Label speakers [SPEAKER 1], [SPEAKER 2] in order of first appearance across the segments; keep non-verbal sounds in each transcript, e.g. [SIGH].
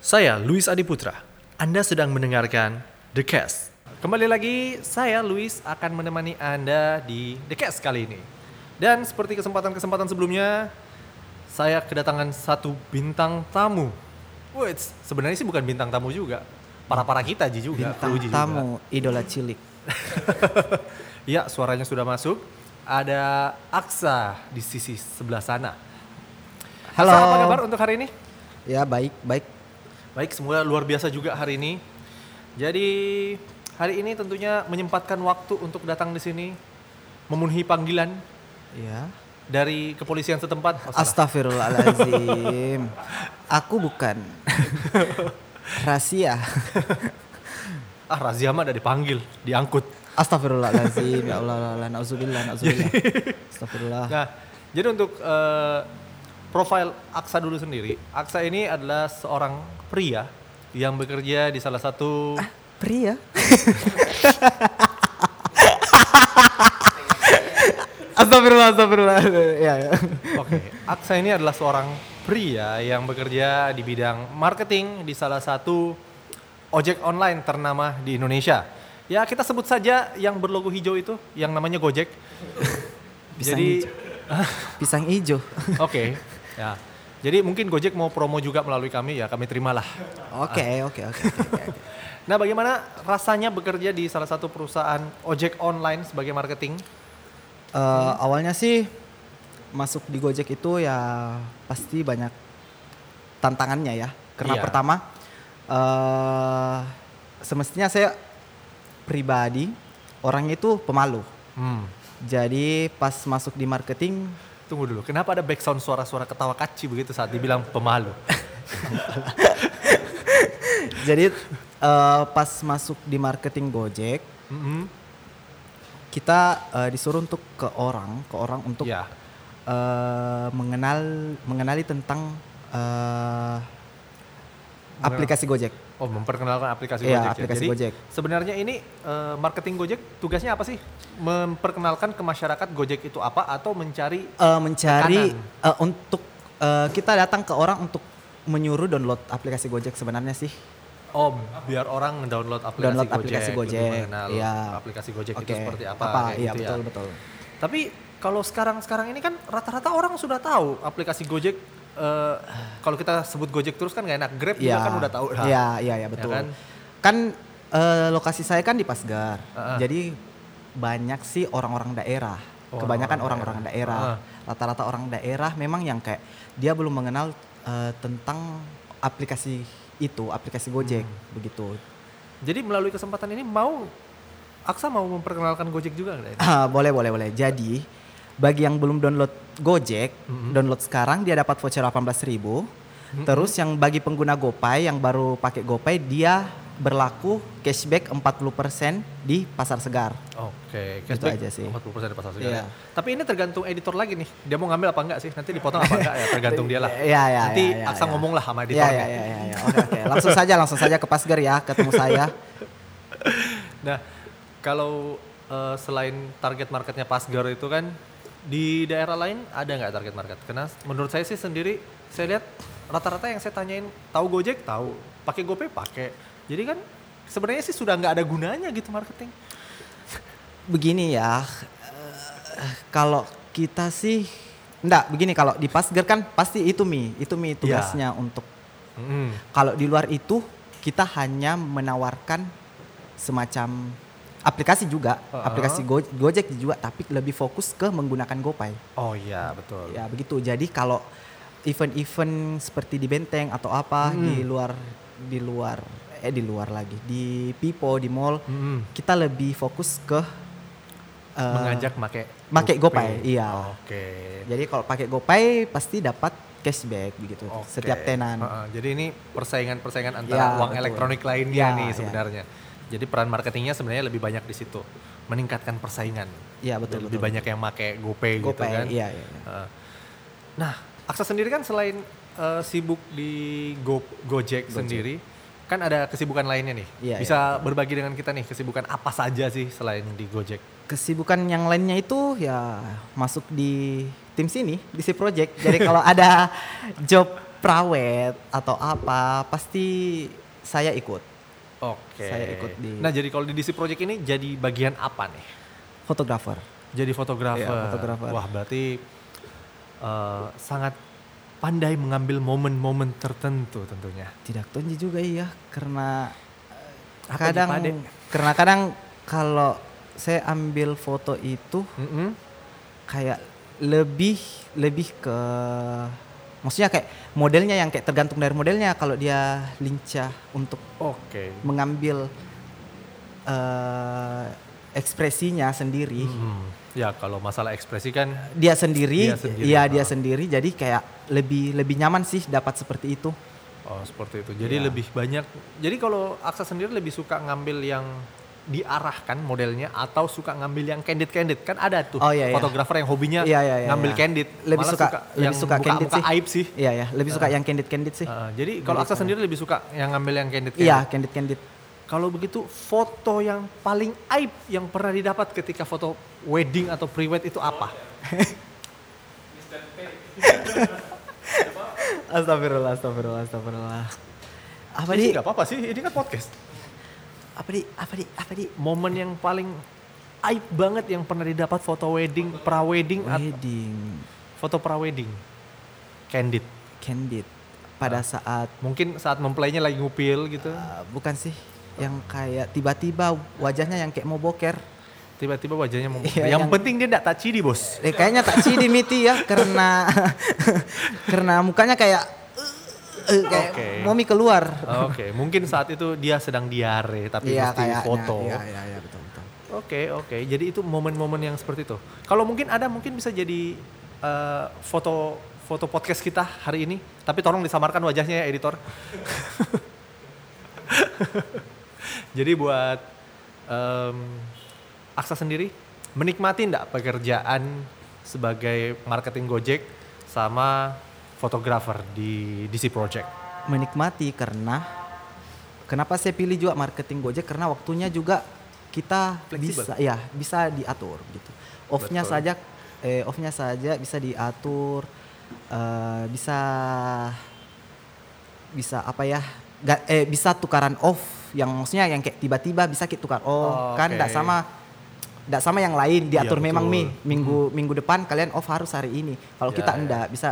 [SPEAKER 1] Saya Luis Adiputra. Anda sedang mendengarkan The Cast. Kembali lagi, saya Luis akan menemani Anda di The Cast kali ini. Dan seperti kesempatan-kesempatan sebelumnya, saya kedatangan satu bintang tamu. Wait, sebenarnya sih bukan bintang tamu juga. Para-para kita Ji juga,
[SPEAKER 2] Bintang
[SPEAKER 1] Kru Ji juga.
[SPEAKER 2] tamu idola cilik.
[SPEAKER 1] Ya, suaranya sudah masuk. Ada Aksa di sisi sebelah sana.
[SPEAKER 2] Halo.
[SPEAKER 1] Aksa, apa kabar untuk hari ini?
[SPEAKER 2] Ya baik baik.
[SPEAKER 1] Baik, semoga luar biasa juga hari ini. Jadi hari ini tentunya menyempatkan waktu untuk datang di sini memenuhi panggilan
[SPEAKER 2] Ya.
[SPEAKER 1] dari kepolisian setempat. Oh, salah.
[SPEAKER 2] Astagfirullahaladzim. Aku bukan. Rahasia.
[SPEAKER 1] ah, razia mah ada dipanggil, diangkut.
[SPEAKER 2] Astagfirullahaladzim. Ya Allah, Allah, Allah. Nauzubillah, nauzubillah. Astagfirullah.
[SPEAKER 1] Nah, jadi untuk eh, profil Aksa dulu sendiri, Aksa ini adalah seorang pria yang bekerja di salah satu
[SPEAKER 2] Pria. astagfirullah, astagfirullah. Ya, ya.
[SPEAKER 1] Oke, Aksa ini adalah seorang pria yang bekerja di bidang marketing di salah satu ojek online ternama di Indonesia. Ya kita sebut saja yang berlogo hijau itu, yang namanya Gojek.
[SPEAKER 2] Pisang
[SPEAKER 1] Jadi,
[SPEAKER 2] Pisang hijau.
[SPEAKER 1] oke, ya. Jadi mungkin Gojek mau promo juga melalui kami ya, kami terimalah.
[SPEAKER 2] Oke, oke, oke. oke.
[SPEAKER 1] Nah, bagaimana rasanya bekerja di salah satu perusahaan ojek online sebagai marketing?
[SPEAKER 2] Eh, awalnya sih masuk di Gojek itu ya pasti banyak tantangannya ya. Karena
[SPEAKER 1] Iya.
[SPEAKER 2] pertama eh semestinya saya pribadi orangnya itu pemalu.
[SPEAKER 1] Hmm.
[SPEAKER 2] Jadi pas masuk di marketing
[SPEAKER 1] Tunggu dulu, kenapa ada background suara-suara ketawa kaci begitu saat dibilang pemalu?
[SPEAKER 2] jadi eh, pas masuk di marketing Gojek
[SPEAKER 1] Mm-mm.
[SPEAKER 2] kita eh, disuruh untuk ke orang, ke orang untuk
[SPEAKER 1] Ya.
[SPEAKER 2] eh, mengenal mengenali tentang eh, aplikasi Gojek.
[SPEAKER 1] Oh, memperkenalkan aplikasi
[SPEAKER 2] Iya,
[SPEAKER 1] Gojek. ya.
[SPEAKER 2] aplikasi
[SPEAKER 1] Jadi,
[SPEAKER 2] Gojek.
[SPEAKER 1] Sebenarnya ini eh, marketing Gojek tugasnya apa sih? Memperkenalkan ke masyarakat Gojek itu apa atau mencari
[SPEAKER 2] eh, mencari
[SPEAKER 1] Tekanan.
[SPEAKER 2] eh, untuk eh, kita datang ke orang untuk menyuruh download aplikasi Gojek sebenarnya sih.
[SPEAKER 1] oh biar orang download aplikasi
[SPEAKER 2] Download
[SPEAKER 1] Gojek,
[SPEAKER 2] aplikasi
[SPEAKER 1] lebih
[SPEAKER 2] Gojek,
[SPEAKER 1] mengenal
[SPEAKER 2] iya.
[SPEAKER 1] aplikasi Gojek
[SPEAKER 2] Oke.
[SPEAKER 1] itu seperti apa, kayak
[SPEAKER 2] Iya,
[SPEAKER 1] gitu ya.
[SPEAKER 2] betul betul.
[SPEAKER 1] Tapi kalau sekarang-sekarang ini kan rata-rata orang sudah tahu aplikasi Gojek eh, kalau kita sebut Gojek terus kan nggak enak. Grab
[SPEAKER 2] Iya.
[SPEAKER 1] juga kan udah tahu. lah.
[SPEAKER 2] Iya, iya, iya, betul.
[SPEAKER 1] kan?
[SPEAKER 2] kan eh, lokasi saya kan di Pasgar.
[SPEAKER 1] Heeh.
[SPEAKER 2] Jadi banyak sih orang-orang daerah.
[SPEAKER 1] Orang-orang
[SPEAKER 2] Kebanyakan
[SPEAKER 1] daerah.
[SPEAKER 2] orang-orang daerah. Rata-rata orang daerah memang yang kayak dia belum mengenal eh, tentang aplikasi itu, aplikasi Gojek
[SPEAKER 1] Hmm.
[SPEAKER 2] begitu.
[SPEAKER 1] Jadi melalui kesempatan ini mau Aksa mau memperkenalkan Gojek juga nggak? ya?
[SPEAKER 2] Ah, boleh, boleh, boleh. Jadi bagi yang belum download Gojek, download sekarang dia dapat voucher 18.000. Terus yang bagi pengguna GoPay yang baru pakai GoPay dia berlaku cashback 40% di pasar segar.
[SPEAKER 1] Oke,
[SPEAKER 2] Gitu
[SPEAKER 1] cashback
[SPEAKER 2] aja sih.
[SPEAKER 1] 40% di pasar segala.
[SPEAKER 2] Iya.
[SPEAKER 1] Tapi ini tergantung editor lagi nih. Dia mau ngambil apa enggak sih? Nanti dipotong apa enggak ya, tergantung dia lah.
[SPEAKER 2] Iya, iya,
[SPEAKER 1] Nanti
[SPEAKER 2] iya, iya,
[SPEAKER 1] Aksa
[SPEAKER 2] iya.
[SPEAKER 1] ngomong lah ya. sama
[SPEAKER 2] Iya,
[SPEAKER 1] editornya.
[SPEAKER 2] iya, iya, iya, iya. Oke, oke. Langsung saja, langsung saja ke Pasgar ya, ketemu saya.
[SPEAKER 1] Nah, kalau eh, selain target marketnya Pasgar itu kan di daerah lain ada nggak target market? Karena menurut saya sih sendiri saya lihat rata-rata yang saya tanyain tahu Gojek tahu, pakai GoPay pakai. Jadi kan sebenarnya sih sudah nggak ada gunanya gitu marketing.
[SPEAKER 2] Begini ya. eh, Kalau kita sih enggak begini kalau di Pasgar kan pasti itu Mi, itu Mi
[SPEAKER 1] Iya.
[SPEAKER 2] tugasnya untuk
[SPEAKER 1] Mm-mm.
[SPEAKER 2] Kalau di luar itu kita hanya menawarkan semacam aplikasi juga,
[SPEAKER 1] Heeh.
[SPEAKER 2] aplikasi Go- Gojek juga, tapi lebih fokus ke menggunakan GoPay.
[SPEAKER 1] Oh iya, betul.
[SPEAKER 2] Ya begitu. Jadi kalau event-event seperti di Benteng atau apa
[SPEAKER 1] Hmm.
[SPEAKER 2] di luar di luar eh di luar lagi di Pipo di mall
[SPEAKER 1] Mm-mm.
[SPEAKER 2] kita lebih fokus ke eh,
[SPEAKER 1] Mengajak make
[SPEAKER 2] make GoPay, iya.
[SPEAKER 1] Oke.
[SPEAKER 2] Jadi kalau pakai GoPay pasti dapat cashback begitu
[SPEAKER 1] Oke.
[SPEAKER 2] Gitu. setiap tenan.
[SPEAKER 1] Heeh, jadi ini persaingan-persaingan antara
[SPEAKER 2] Ya,
[SPEAKER 1] uang
[SPEAKER 2] betul.
[SPEAKER 1] elektronik lainnya
[SPEAKER 2] Ya,
[SPEAKER 1] nih
[SPEAKER 2] ya.
[SPEAKER 1] sebenarnya. Jadi peran marketingnya sebenarnya lebih banyak di situ, meningkatkan persaingan.
[SPEAKER 2] Iya,
[SPEAKER 1] Biar
[SPEAKER 2] betul,
[SPEAKER 1] Lebih
[SPEAKER 2] betul.
[SPEAKER 1] banyak yang make GoPay, gitu
[SPEAKER 2] GoPay,
[SPEAKER 1] kan.
[SPEAKER 2] iya, iya, iya.
[SPEAKER 1] Heeh. nah, Aksa sendiri kan selain eh, sibuk di Go- Gojek, sendiri, kan ada kesibukan lainnya nih.
[SPEAKER 2] Iya,
[SPEAKER 1] Bisa berbagi dengan kita nih kesibukan apa saja sih selain di Gojek?
[SPEAKER 2] Kesibukan yang lainnya itu ya masuk di tim sini, di si project. Jadi kalau ada job prawet atau apa, pasti saya ikut.
[SPEAKER 1] Oke.
[SPEAKER 2] Saya ikut di-
[SPEAKER 1] Nah, jadi kalau di DC Project ini jadi bagian apa nih?
[SPEAKER 2] Fotografer.
[SPEAKER 1] Jadi fotografer.
[SPEAKER 2] Iya, fotografer.
[SPEAKER 1] Wah, berarti eh, sangat pandai mengambil momen-momen tertentu tentunya.
[SPEAKER 2] Tidak tunji juga iya, karena eh,
[SPEAKER 1] Apa
[SPEAKER 2] kadang
[SPEAKER 1] Jepade?
[SPEAKER 2] karena kadang kalau saya ambil foto itu
[SPEAKER 1] Mm-mm.
[SPEAKER 2] kayak lebih lebih ke maksudnya kayak modelnya yang kayak tergantung dari modelnya kalau dia lincah untuk
[SPEAKER 1] Oke.
[SPEAKER 2] mengambil eh, ekspresinya sendiri
[SPEAKER 1] Hmm. Ya, kalau masalah ekspresi kan
[SPEAKER 2] dia sendiri
[SPEAKER 1] Dia sendiri,
[SPEAKER 2] iya dia
[SPEAKER 1] ah.
[SPEAKER 2] sendiri jadi kayak lebih lebih nyaman sih dapat seperti itu
[SPEAKER 1] oh, seperti itu.
[SPEAKER 2] Iya.
[SPEAKER 1] Jadi lebih banyak. Jadi kalau Aksa sendiri lebih suka ngambil yang diarahkan modelnya atau suka ngambil yang candid-candid kan ada tuh
[SPEAKER 2] Oh, iya, iya.
[SPEAKER 1] fotografer yang hobinya
[SPEAKER 2] Iya, iya, iya,
[SPEAKER 1] ngambil
[SPEAKER 2] iya.
[SPEAKER 1] candid
[SPEAKER 2] Lebih
[SPEAKER 1] Malah
[SPEAKER 2] suka- lebih
[SPEAKER 1] yang
[SPEAKER 2] suka
[SPEAKER 1] buka,
[SPEAKER 2] candid
[SPEAKER 1] buka
[SPEAKER 2] sih.
[SPEAKER 1] aib sih
[SPEAKER 2] iya ya lebih suka yang candid candid sih
[SPEAKER 1] Uh, jadi kalau Aksa sendiri lebih suka yang ngambil yang candid candid.
[SPEAKER 2] iya candid candid
[SPEAKER 1] Kalau begitu foto yang paling aib yang pernah didapat ketika foto wedding atau pre-wed itu apa?
[SPEAKER 2] astagfirullah astagfirullah astagfirullah apa
[SPEAKER 1] Ini
[SPEAKER 2] di
[SPEAKER 1] nggak apa-apa sih, ini kan podcast.
[SPEAKER 2] apa di apa di apa di
[SPEAKER 1] Momen yang paling aib banget yang pernah didapat foto wedding, pra-wedding atau
[SPEAKER 2] wedding
[SPEAKER 1] foto pra-wedding. Candid.
[SPEAKER 2] candid pada saat
[SPEAKER 1] Mungkin saat memplaynya lagi ngupil gitu,
[SPEAKER 2] uh, bukan sih yang kayak tiba-tiba wajahnya yang kayak mau boker
[SPEAKER 1] tiba-tiba wajahnya mau
[SPEAKER 2] Iya,
[SPEAKER 1] yang,
[SPEAKER 2] yang-
[SPEAKER 1] penting dia enggak taci di, Bos.
[SPEAKER 2] Eh, kayaknya tak cidi miti ya karena [LAUGHS] karena mukanya kayak eh, eh, kayak
[SPEAKER 1] Oke.
[SPEAKER 2] momi keluar
[SPEAKER 1] Oke, mungkin saat itu dia sedang diare tapi
[SPEAKER 2] iya
[SPEAKER 1] mesti
[SPEAKER 2] kayaknya
[SPEAKER 1] foto.
[SPEAKER 2] iya iya iya, betul betul
[SPEAKER 1] Oke oke, jadi itu momen-momen yang seperti itu. Kalau mungkin ada mungkin bisa jadi eh, foto foto podcast kita hari ini, tapi tolong disamarkan wajahnya ya editor. [LAUGHS] jadi buat em, Aksa sendiri menikmati enggak pekerjaan sebagai marketing Gojek sama fotografer di DC Project?
[SPEAKER 2] menikmati karena kenapa saya pilih juga marketing Gojek karena waktunya juga kita
[SPEAKER 1] Fleksibel.
[SPEAKER 2] bisa ya bisa diatur gitu. Off-nya
[SPEAKER 1] Betul.
[SPEAKER 2] saja eh off-nya saja bisa diatur eh, bisa bisa apa ya? ga- eh bisa tukaran off yang maksudnya yang kayak tiba-tiba bisa kita tukar oh kan tidak
[SPEAKER 1] Oke.
[SPEAKER 2] sama tidak sama yang lain diatur
[SPEAKER 1] Iya,
[SPEAKER 2] memang
[SPEAKER 1] betul.
[SPEAKER 2] nih minggu minggu depan kalian off harus hari ini kalau
[SPEAKER 1] Ya,
[SPEAKER 2] kita
[SPEAKER 1] ya. Nah.
[SPEAKER 2] enggak bisa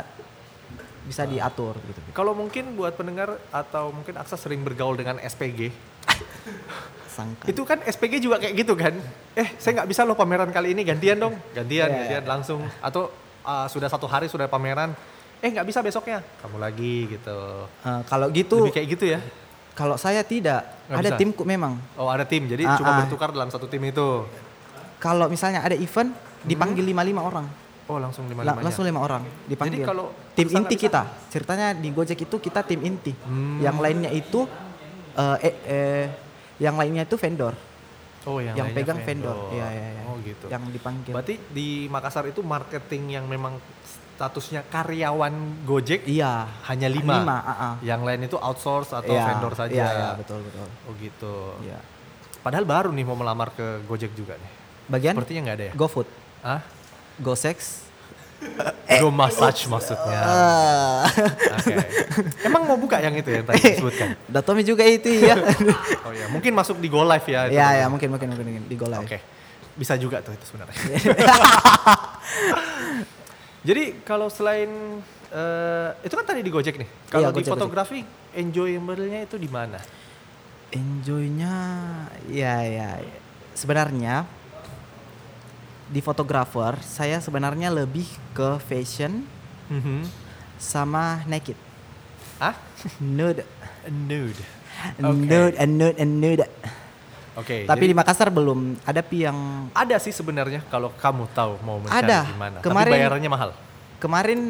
[SPEAKER 2] bisa diatur gitu
[SPEAKER 1] Kalau mungkin buat pendengar atau mungkin Aksa sering bergaul dengan SPG,
[SPEAKER 2] sangka
[SPEAKER 1] Itu kan SPG juga kayak gitu kan. Eh, saya nggak bisa loh pameran kali ini gantian dong. Gantian,
[SPEAKER 2] Iya,
[SPEAKER 1] gantian langsung atau uh, sudah satu hari sudah pameran. Eh, nggak bisa besoknya. Kamu lagi gitu.
[SPEAKER 2] Eh, kalau gitu,
[SPEAKER 1] Lebih kayak gitu ya.
[SPEAKER 2] kalau saya tidak,
[SPEAKER 1] Nggak
[SPEAKER 2] ada
[SPEAKER 1] bisa?
[SPEAKER 2] timku memang.
[SPEAKER 1] Oh, ada tim. Jadi
[SPEAKER 2] Ah,
[SPEAKER 1] cuma
[SPEAKER 2] ah.
[SPEAKER 1] bertukar dalam satu tim itu.
[SPEAKER 2] Kalau misalnya ada event, dipanggil lima-lima orang.
[SPEAKER 1] Oh, langsung Hmm. lima
[SPEAKER 2] La-
[SPEAKER 1] limanya.
[SPEAKER 2] langsung lima orang dipanggil.
[SPEAKER 1] Jadi kalau Aksa
[SPEAKER 2] tim
[SPEAKER 1] nggak
[SPEAKER 2] inti
[SPEAKER 1] bisa-
[SPEAKER 2] kita, ceritanya di Gojek itu kita tim inti.
[SPEAKER 1] Hmm.
[SPEAKER 2] Yang lainnya itu, eh, eh, eh, yang lainnya itu vendor,
[SPEAKER 1] Oh, yang,
[SPEAKER 2] yang,
[SPEAKER 1] lainnya
[SPEAKER 2] pegang vendor, Iya, iya, iya.
[SPEAKER 1] Oh, gitu.
[SPEAKER 2] yang dipanggil.
[SPEAKER 1] Berarti di Makassar itu marketing yang memang statusnya karyawan Gojek
[SPEAKER 2] iya,
[SPEAKER 1] hanya lima.
[SPEAKER 2] Lima, ah, ah.
[SPEAKER 1] Yang lain itu outsource atau
[SPEAKER 2] Iya,
[SPEAKER 1] vendor saja.
[SPEAKER 2] Iya, iya, betul betul.
[SPEAKER 1] Oh, gitu.
[SPEAKER 2] Iya.
[SPEAKER 1] Padahal baru nih mau melamar ke Gojek juga nih.
[SPEAKER 2] Bagian
[SPEAKER 1] Sepertinya nggak ada ya?
[SPEAKER 2] GoFood,
[SPEAKER 1] Ah,
[SPEAKER 2] GoSex.
[SPEAKER 1] Go massage
[SPEAKER 2] [LAUGHS]
[SPEAKER 1] maksudnya. Ah.
[SPEAKER 2] Eh,
[SPEAKER 1] Oke. Emang mau buka yang itu yang tadi disebutkan?
[SPEAKER 2] udah Tommy juga itu
[SPEAKER 1] [LAUGHS]
[SPEAKER 2] ya.
[SPEAKER 1] Oh ya, mungkin masuk di Go Live ya. itu.
[SPEAKER 2] Ya ya mungkin mungkin mungkin, mungkin. di Go Live.
[SPEAKER 1] Oke. Bisa juga tuh itu
[SPEAKER 2] [LAUGHS]
[SPEAKER 1] sebenarnya. Jadi kalau selain eh, itu kan tadi di Gojek nih. Kalau
[SPEAKER 2] Iya,
[SPEAKER 1] di
[SPEAKER 2] Gojek,
[SPEAKER 1] fotografi enjoyable-nya itu di mana?
[SPEAKER 2] Enjoynya ya ya ya. sebenarnya di fotografer saya sebenarnya lebih ke fashion Mm-hmm. sama naked [LAUGHS]
[SPEAKER 1] Ah,
[SPEAKER 2] nude
[SPEAKER 1] nude.
[SPEAKER 2] nude and nude and nude.
[SPEAKER 1] Oke.
[SPEAKER 2] Tapi
[SPEAKER 1] jadi
[SPEAKER 2] di Makassar belum ada pi yang
[SPEAKER 1] ada sih sebenarnya kalau kamu tahu mau mencari
[SPEAKER 2] Ada.
[SPEAKER 1] gimana.
[SPEAKER 2] Kemarin-
[SPEAKER 1] Tapi bayarannya mahal.
[SPEAKER 2] kemarin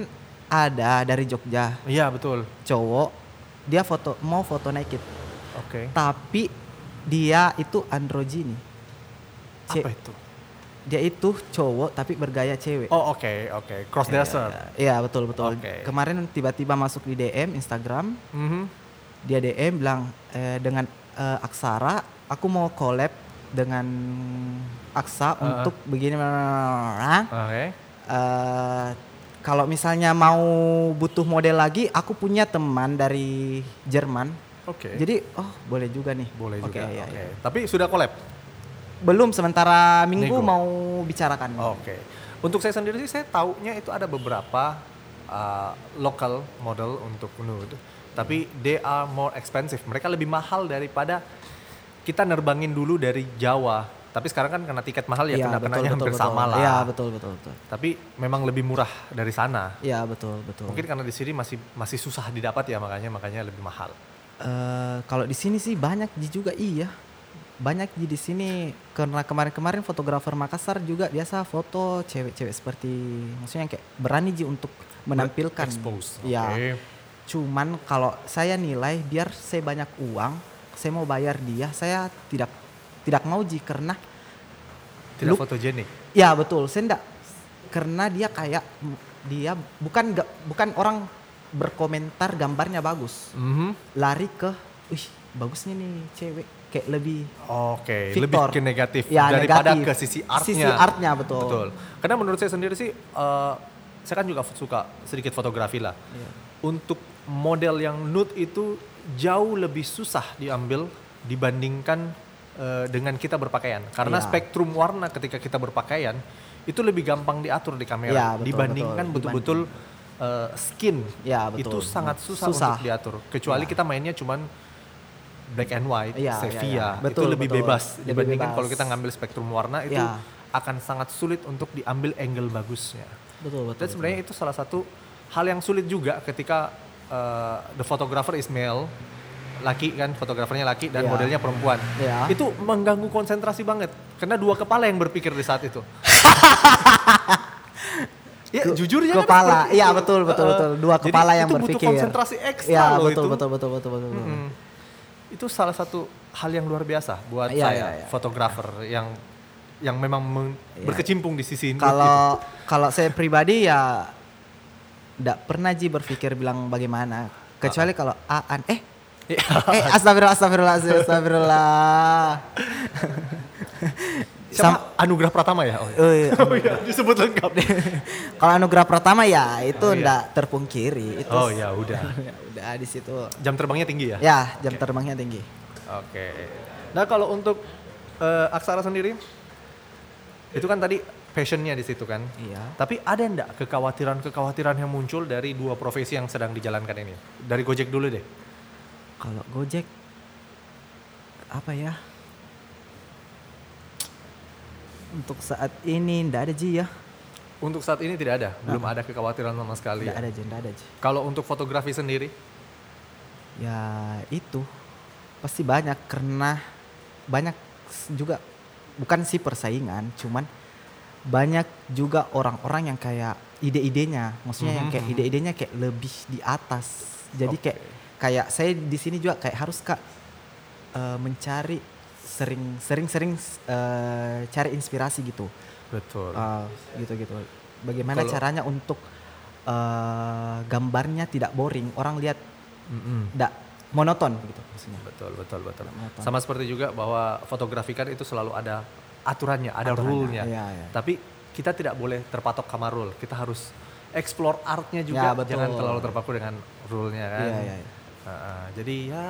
[SPEAKER 2] ada dari Jogja
[SPEAKER 1] Iya, betul.
[SPEAKER 2] cowok dia foto mau foto naked
[SPEAKER 1] Oke.
[SPEAKER 2] tapi dia itu androgini. Ce-
[SPEAKER 1] Apa itu?
[SPEAKER 2] dia itu cowok tapi bergaya cewek.
[SPEAKER 1] Oh oke oke cross dresser.
[SPEAKER 2] Iya betul betul.
[SPEAKER 1] Oke.
[SPEAKER 2] Kemarin tiba-tiba masuk di DM Instagram,
[SPEAKER 1] Mhm.
[SPEAKER 2] dia DM bilang eh, dengan eh, Aksara aku mau collab dengan Aksa untuk begini orang
[SPEAKER 1] Oke.
[SPEAKER 2] Eh, kalau misalnya mau butuh model lagi, aku punya teman dari Jerman.
[SPEAKER 1] Oke.
[SPEAKER 2] Jadi, oh boleh juga nih.
[SPEAKER 1] boleh
[SPEAKER 2] Oke,
[SPEAKER 1] juga.
[SPEAKER 2] iya,
[SPEAKER 1] Oke.
[SPEAKER 2] iya.
[SPEAKER 1] Tapi sudah collab.
[SPEAKER 2] Belum sementara
[SPEAKER 1] Nego.
[SPEAKER 2] minggu mau bicarakan.
[SPEAKER 1] Oke. Untuk saya sendiri sih saya taunya itu ada beberapa uh, local model untuk nude, tapi
[SPEAKER 2] Hmm.
[SPEAKER 1] they are more expensive. Mereka lebih mahal daripada kita nerbangin dulu dari Jawa. Tapi sekarang kan kena tiket mahal ya,
[SPEAKER 2] Iya,
[SPEAKER 1] kena kenanya hampir
[SPEAKER 2] betul.
[SPEAKER 1] sama lah.
[SPEAKER 2] Iya, betul betul betul.
[SPEAKER 1] Tapi memang lebih murah dari sana.
[SPEAKER 2] Iya, betul betul.
[SPEAKER 1] Mungkin karena di sini masih masih susah didapat ya makanya makanya lebih mahal.
[SPEAKER 2] Eh, kalau di sini sih banyak ji juga iya. Banyak ji di sini karena kemarin-kemarin fotografer Makassar juga biasa foto cewek-cewek seperti maksudnya yang kayak berani ji untuk menampilkan.
[SPEAKER 1] Expose.
[SPEAKER 2] Iya.
[SPEAKER 1] Oke.
[SPEAKER 2] Cuman kalau saya nilai biar saya banyak uang, saya mau bayar dia, saya tidak tidak mau ji karena
[SPEAKER 1] Tidak
[SPEAKER 2] Look.
[SPEAKER 1] fotogenik.
[SPEAKER 2] ya betul, saya enggak karena dia kayak mm, dia bukan ga- bukan orang berkomentar gambarnya bagus.
[SPEAKER 1] Mhm.
[SPEAKER 2] Lari ke, wih, bagusnya nih cewek kayak lebih
[SPEAKER 1] Oke,
[SPEAKER 2] Victor.
[SPEAKER 1] lebih ke negatif
[SPEAKER 2] Ya,
[SPEAKER 1] daripada
[SPEAKER 2] negatif.
[SPEAKER 1] ke sisi artnya.
[SPEAKER 2] Sisi artnya, betul.
[SPEAKER 1] Karena menurut saya sendiri sih, eh, saya kan juga suka sedikit fotografi lah.
[SPEAKER 2] Iya.
[SPEAKER 1] Untuk model yang nude itu jauh lebih susah diambil dibandingkan eh, dengan kita berpakaian. Karena
[SPEAKER 2] Iya.
[SPEAKER 1] spektrum warna ketika kita berpakaian itu lebih gampang diatur di kamera
[SPEAKER 2] Iya, betul,
[SPEAKER 1] dibandingkan
[SPEAKER 2] betul.
[SPEAKER 1] betul-betul eh, skin.
[SPEAKER 2] Iya,
[SPEAKER 1] Itu
[SPEAKER 2] betul.
[SPEAKER 1] sangat susah,
[SPEAKER 2] Susah.
[SPEAKER 1] untuk diatur. Kecuali kita mainnya cuman black and white,
[SPEAKER 2] Iya, iya,
[SPEAKER 1] sepia,
[SPEAKER 2] iya.
[SPEAKER 1] itu
[SPEAKER 2] Betul,
[SPEAKER 1] lebih
[SPEAKER 2] betul.
[SPEAKER 1] bebas
[SPEAKER 2] Lebih
[SPEAKER 1] dibandingkan
[SPEAKER 2] bebas.
[SPEAKER 1] kalau kita ngambil spektrum warna itu
[SPEAKER 2] Iya.
[SPEAKER 1] akan sangat sulit untuk diambil angle bagusnya.
[SPEAKER 2] betul
[SPEAKER 1] Dan sebenarnya itu salah satu hal yang sulit juga ketika uh, the photographer is male, laki kan fotografernya laki dan
[SPEAKER 2] Iya.
[SPEAKER 1] modelnya perempuan.
[SPEAKER 2] Iya.
[SPEAKER 1] Itu mengganggu konsentrasi banget karena dua kepala yang berpikir di saat
[SPEAKER 2] [LAUGHS]
[SPEAKER 1] itu. Ya,
[SPEAKER 2] Ke-
[SPEAKER 1] jujur ya
[SPEAKER 2] kepala. Iya, betul, betul, betul. Dua kepala yang
[SPEAKER 1] Eh, Itu butuh
[SPEAKER 2] berpikir.
[SPEAKER 1] konsentrasi ekstra
[SPEAKER 2] Iya,
[SPEAKER 1] loh
[SPEAKER 2] betul,
[SPEAKER 1] itu.
[SPEAKER 2] betul betul betul betul. betul.
[SPEAKER 1] Mm. Itu salah satu hal yang luar biasa buat
[SPEAKER 2] Iya,
[SPEAKER 1] saya,
[SPEAKER 2] iya, iya.
[SPEAKER 1] fotografer yang yang memang men- berkecimpung di sisi ini.
[SPEAKER 2] Kalau kalau saya pribadi ya tidak pernah ji berpikir bilang bagaimana kecuali kalau aan eh eh astagfirullah astagfirullah astagfirullah Sam-
[SPEAKER 1] Siapa? Anugrah Pratama ya? Oh, iya.
[SPEAKER 2] Eh,
[SPEAKER 1] Oh iya, disebut lengkap.
[SPEAKER 2] kalau anugerah pertama ya itu
[SPEAKER 1] Oh, iya.
[SPEAKER 2] tidak terpungkiri
[SPEAKER 1] [LAUGHS]
[SPEAKER 2] itu
[SPEAKER 1] oh ya udah.
[SPEAKER 2] ya udah di situ
[SPEAKER 1] Jam terbangnya tinggi ya?
[SPEAKER 2] ya jam terbangnya tinggi
[SPEAKER 1] Oke. Nah kalau untuk eh, Aksara sendiri, itu kan tadi passionnya di situ kan?
[SPEAKER 2] Iya.
[SPEAKER 1] Tapi ada enggak kekhawatiran-kekhawatiran yang muncul dari dua profesi yang sedang dijalankan ini? Dari Gojek dulu deh.
[SPEAKER 2] kalau Gojek apa ya untuk saat ini ndak ada ji ya
[SPEAKER 1] Untuk saat ini tidak ada, belum ada kekhawatiran sama sekali.
[SPEAKER 2] ndak Nah. ada ji ndak ada ji
[SPEAKER 1] Kalau untuk fotografi sendiri,
[SPEAKER 2] Ya itu pasti banyak karena banyak s- juga bukan sih persaingan, cuman banyak juga orang-orang yang kayak ide-idenya, maksudnya yang kayak ide-idenya kayak lebih di atas. Jadi kayak kayak saya di sini juga kayak harus kak eh, mencari sering-sering-sering eh, cari inspirasi gitu,
[SPEAKER 1] betul.
[SPEAKER 2] Eh, gitu-gitu. Bagaimana
[SPEAKER 1] Kalau-
[SPEAKER 2] caranya untuk eh, gambarnya tidak boring, orang lihat
[SPEAKER 1] Mm-mm.
[SPEAKER 2] tidak monoton gitu maksudnya.
[SPEAKER 1] Betul, betul, betul.
[SPEAKER 2] Kenapa?
[SPEAKER 1] Sama seperti juga bahwa fotografi kan itu selalu ada aturannya, ada rule-nya.
[SPEAKER 2] iya, iya.
[SPEAKER 1] Tapi kita tidak boleh terpatok sama rule. Kita harus explore art-nya juga,
[SPEAKER 2] Ya, betul.
[SPEAKER 1] jangan terlalu terpaku dengan rule-nya kan.
[SPEAKER 2] Iya, iya, iya.
[SPEAKER 1] Heeh, jadi ya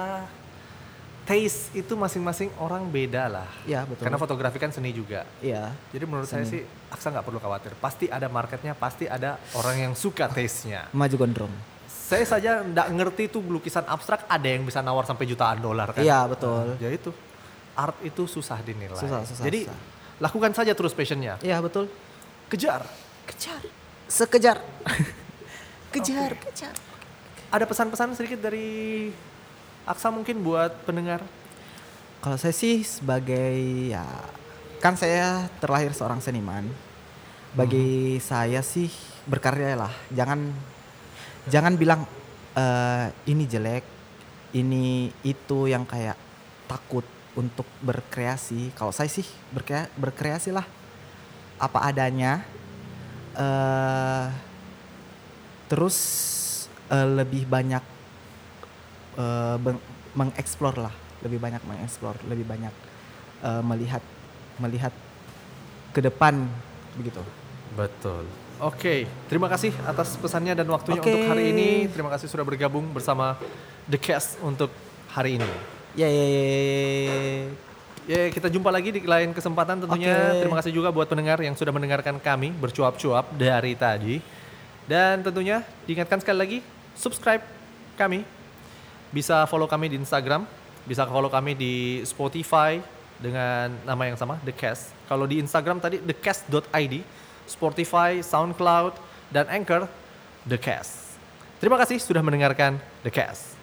[SPEAKER 1] taste itu masing-masing orang beda lah.
[SPEAKER 2] Iya, betul.
[SPEAKER 1] Karena fotografi kan seni juga.
[SPEAKER 2] Iya.
[SPEAKER 1] Jadi menurut saya sih Aksa nggak perlu khawatir. Pasti ada marketnya, pasti ada orang yang suka taste-nya.
[SPEAKER 2] Maju gondrong.
[SPEAKER 1] Saya saja nggak ngerti tuh lukisan abstrak ada yang bisa nawar sampai jutaan dolar kan.
[SPEAKER 2] Iya, betul.
[SPEAKER 1] Nah, Ya itu. Art itu susah dinilai.
[SPEAKER 2] Susah, susah,
[SPEAKER 1] Jadi
[SPEAKER 2] susah.
[SPEAKER 1] lakukan saja terus passionnya.
[SPEAKER 2] Iya betul.
[SPEAKER 1] Kejar.
[SPEAKER 2] Kejar. Sekejar. kejar,
[SPEAKER 1] Oke.
[SPEAKER 2] kejar.
[SPEAKER 1] Ada pesan-pesan sedikit dari Aksa mungkin buat pendengar.
[SPEAKER 2] Kalau saya sih sebagai ya kan saya terlahir seorang seniman. Bagi saya sih berkarya lah. Jangan jangan bilang "Eh, ini jelek, ini itu yang kayak takut untuk berkreasi. Kalau saya sih berkreasi, berkreasi lah apa adanya. eh terus eh, lebih banyak eh, beng- mengeksplor lah, lebih banyak mengeksplor, lebih banyak eh, melihat melihat ke depan begitu.
[SPEAKER 1] Betul. Oke, terima kasih atas pesannya dan waktunya
[SPEAKER 2] Oke.
[SPEAKER 1] untuk hari ini. Terima kasih sudah bergabung bersama The Cast untuk hari ini.
[SPEAKER 2] Ya ya ya, ya, ya.
[SPEAKER 1] Ya, kita jumpa lagi di lain kesempatan tentunya.
[SPEAKER 2] Oke.
[SPEAKER 1] Terima kasih juga buat pendengar yang sudah mendengarkan kami bercuap-cuap dari tadi. Dan tentunya diingatkan sekali lagi, subscribe kami. Bisa follow kami di Instagram, bisa follow kami di Spotify dengan nama yang sama, The Cast. Kalau di Instagram tadi thecast.id, Spotify, SoundCloud, dan Anchor, The Cast. Terima kasih sudah mendengarkan The Cast.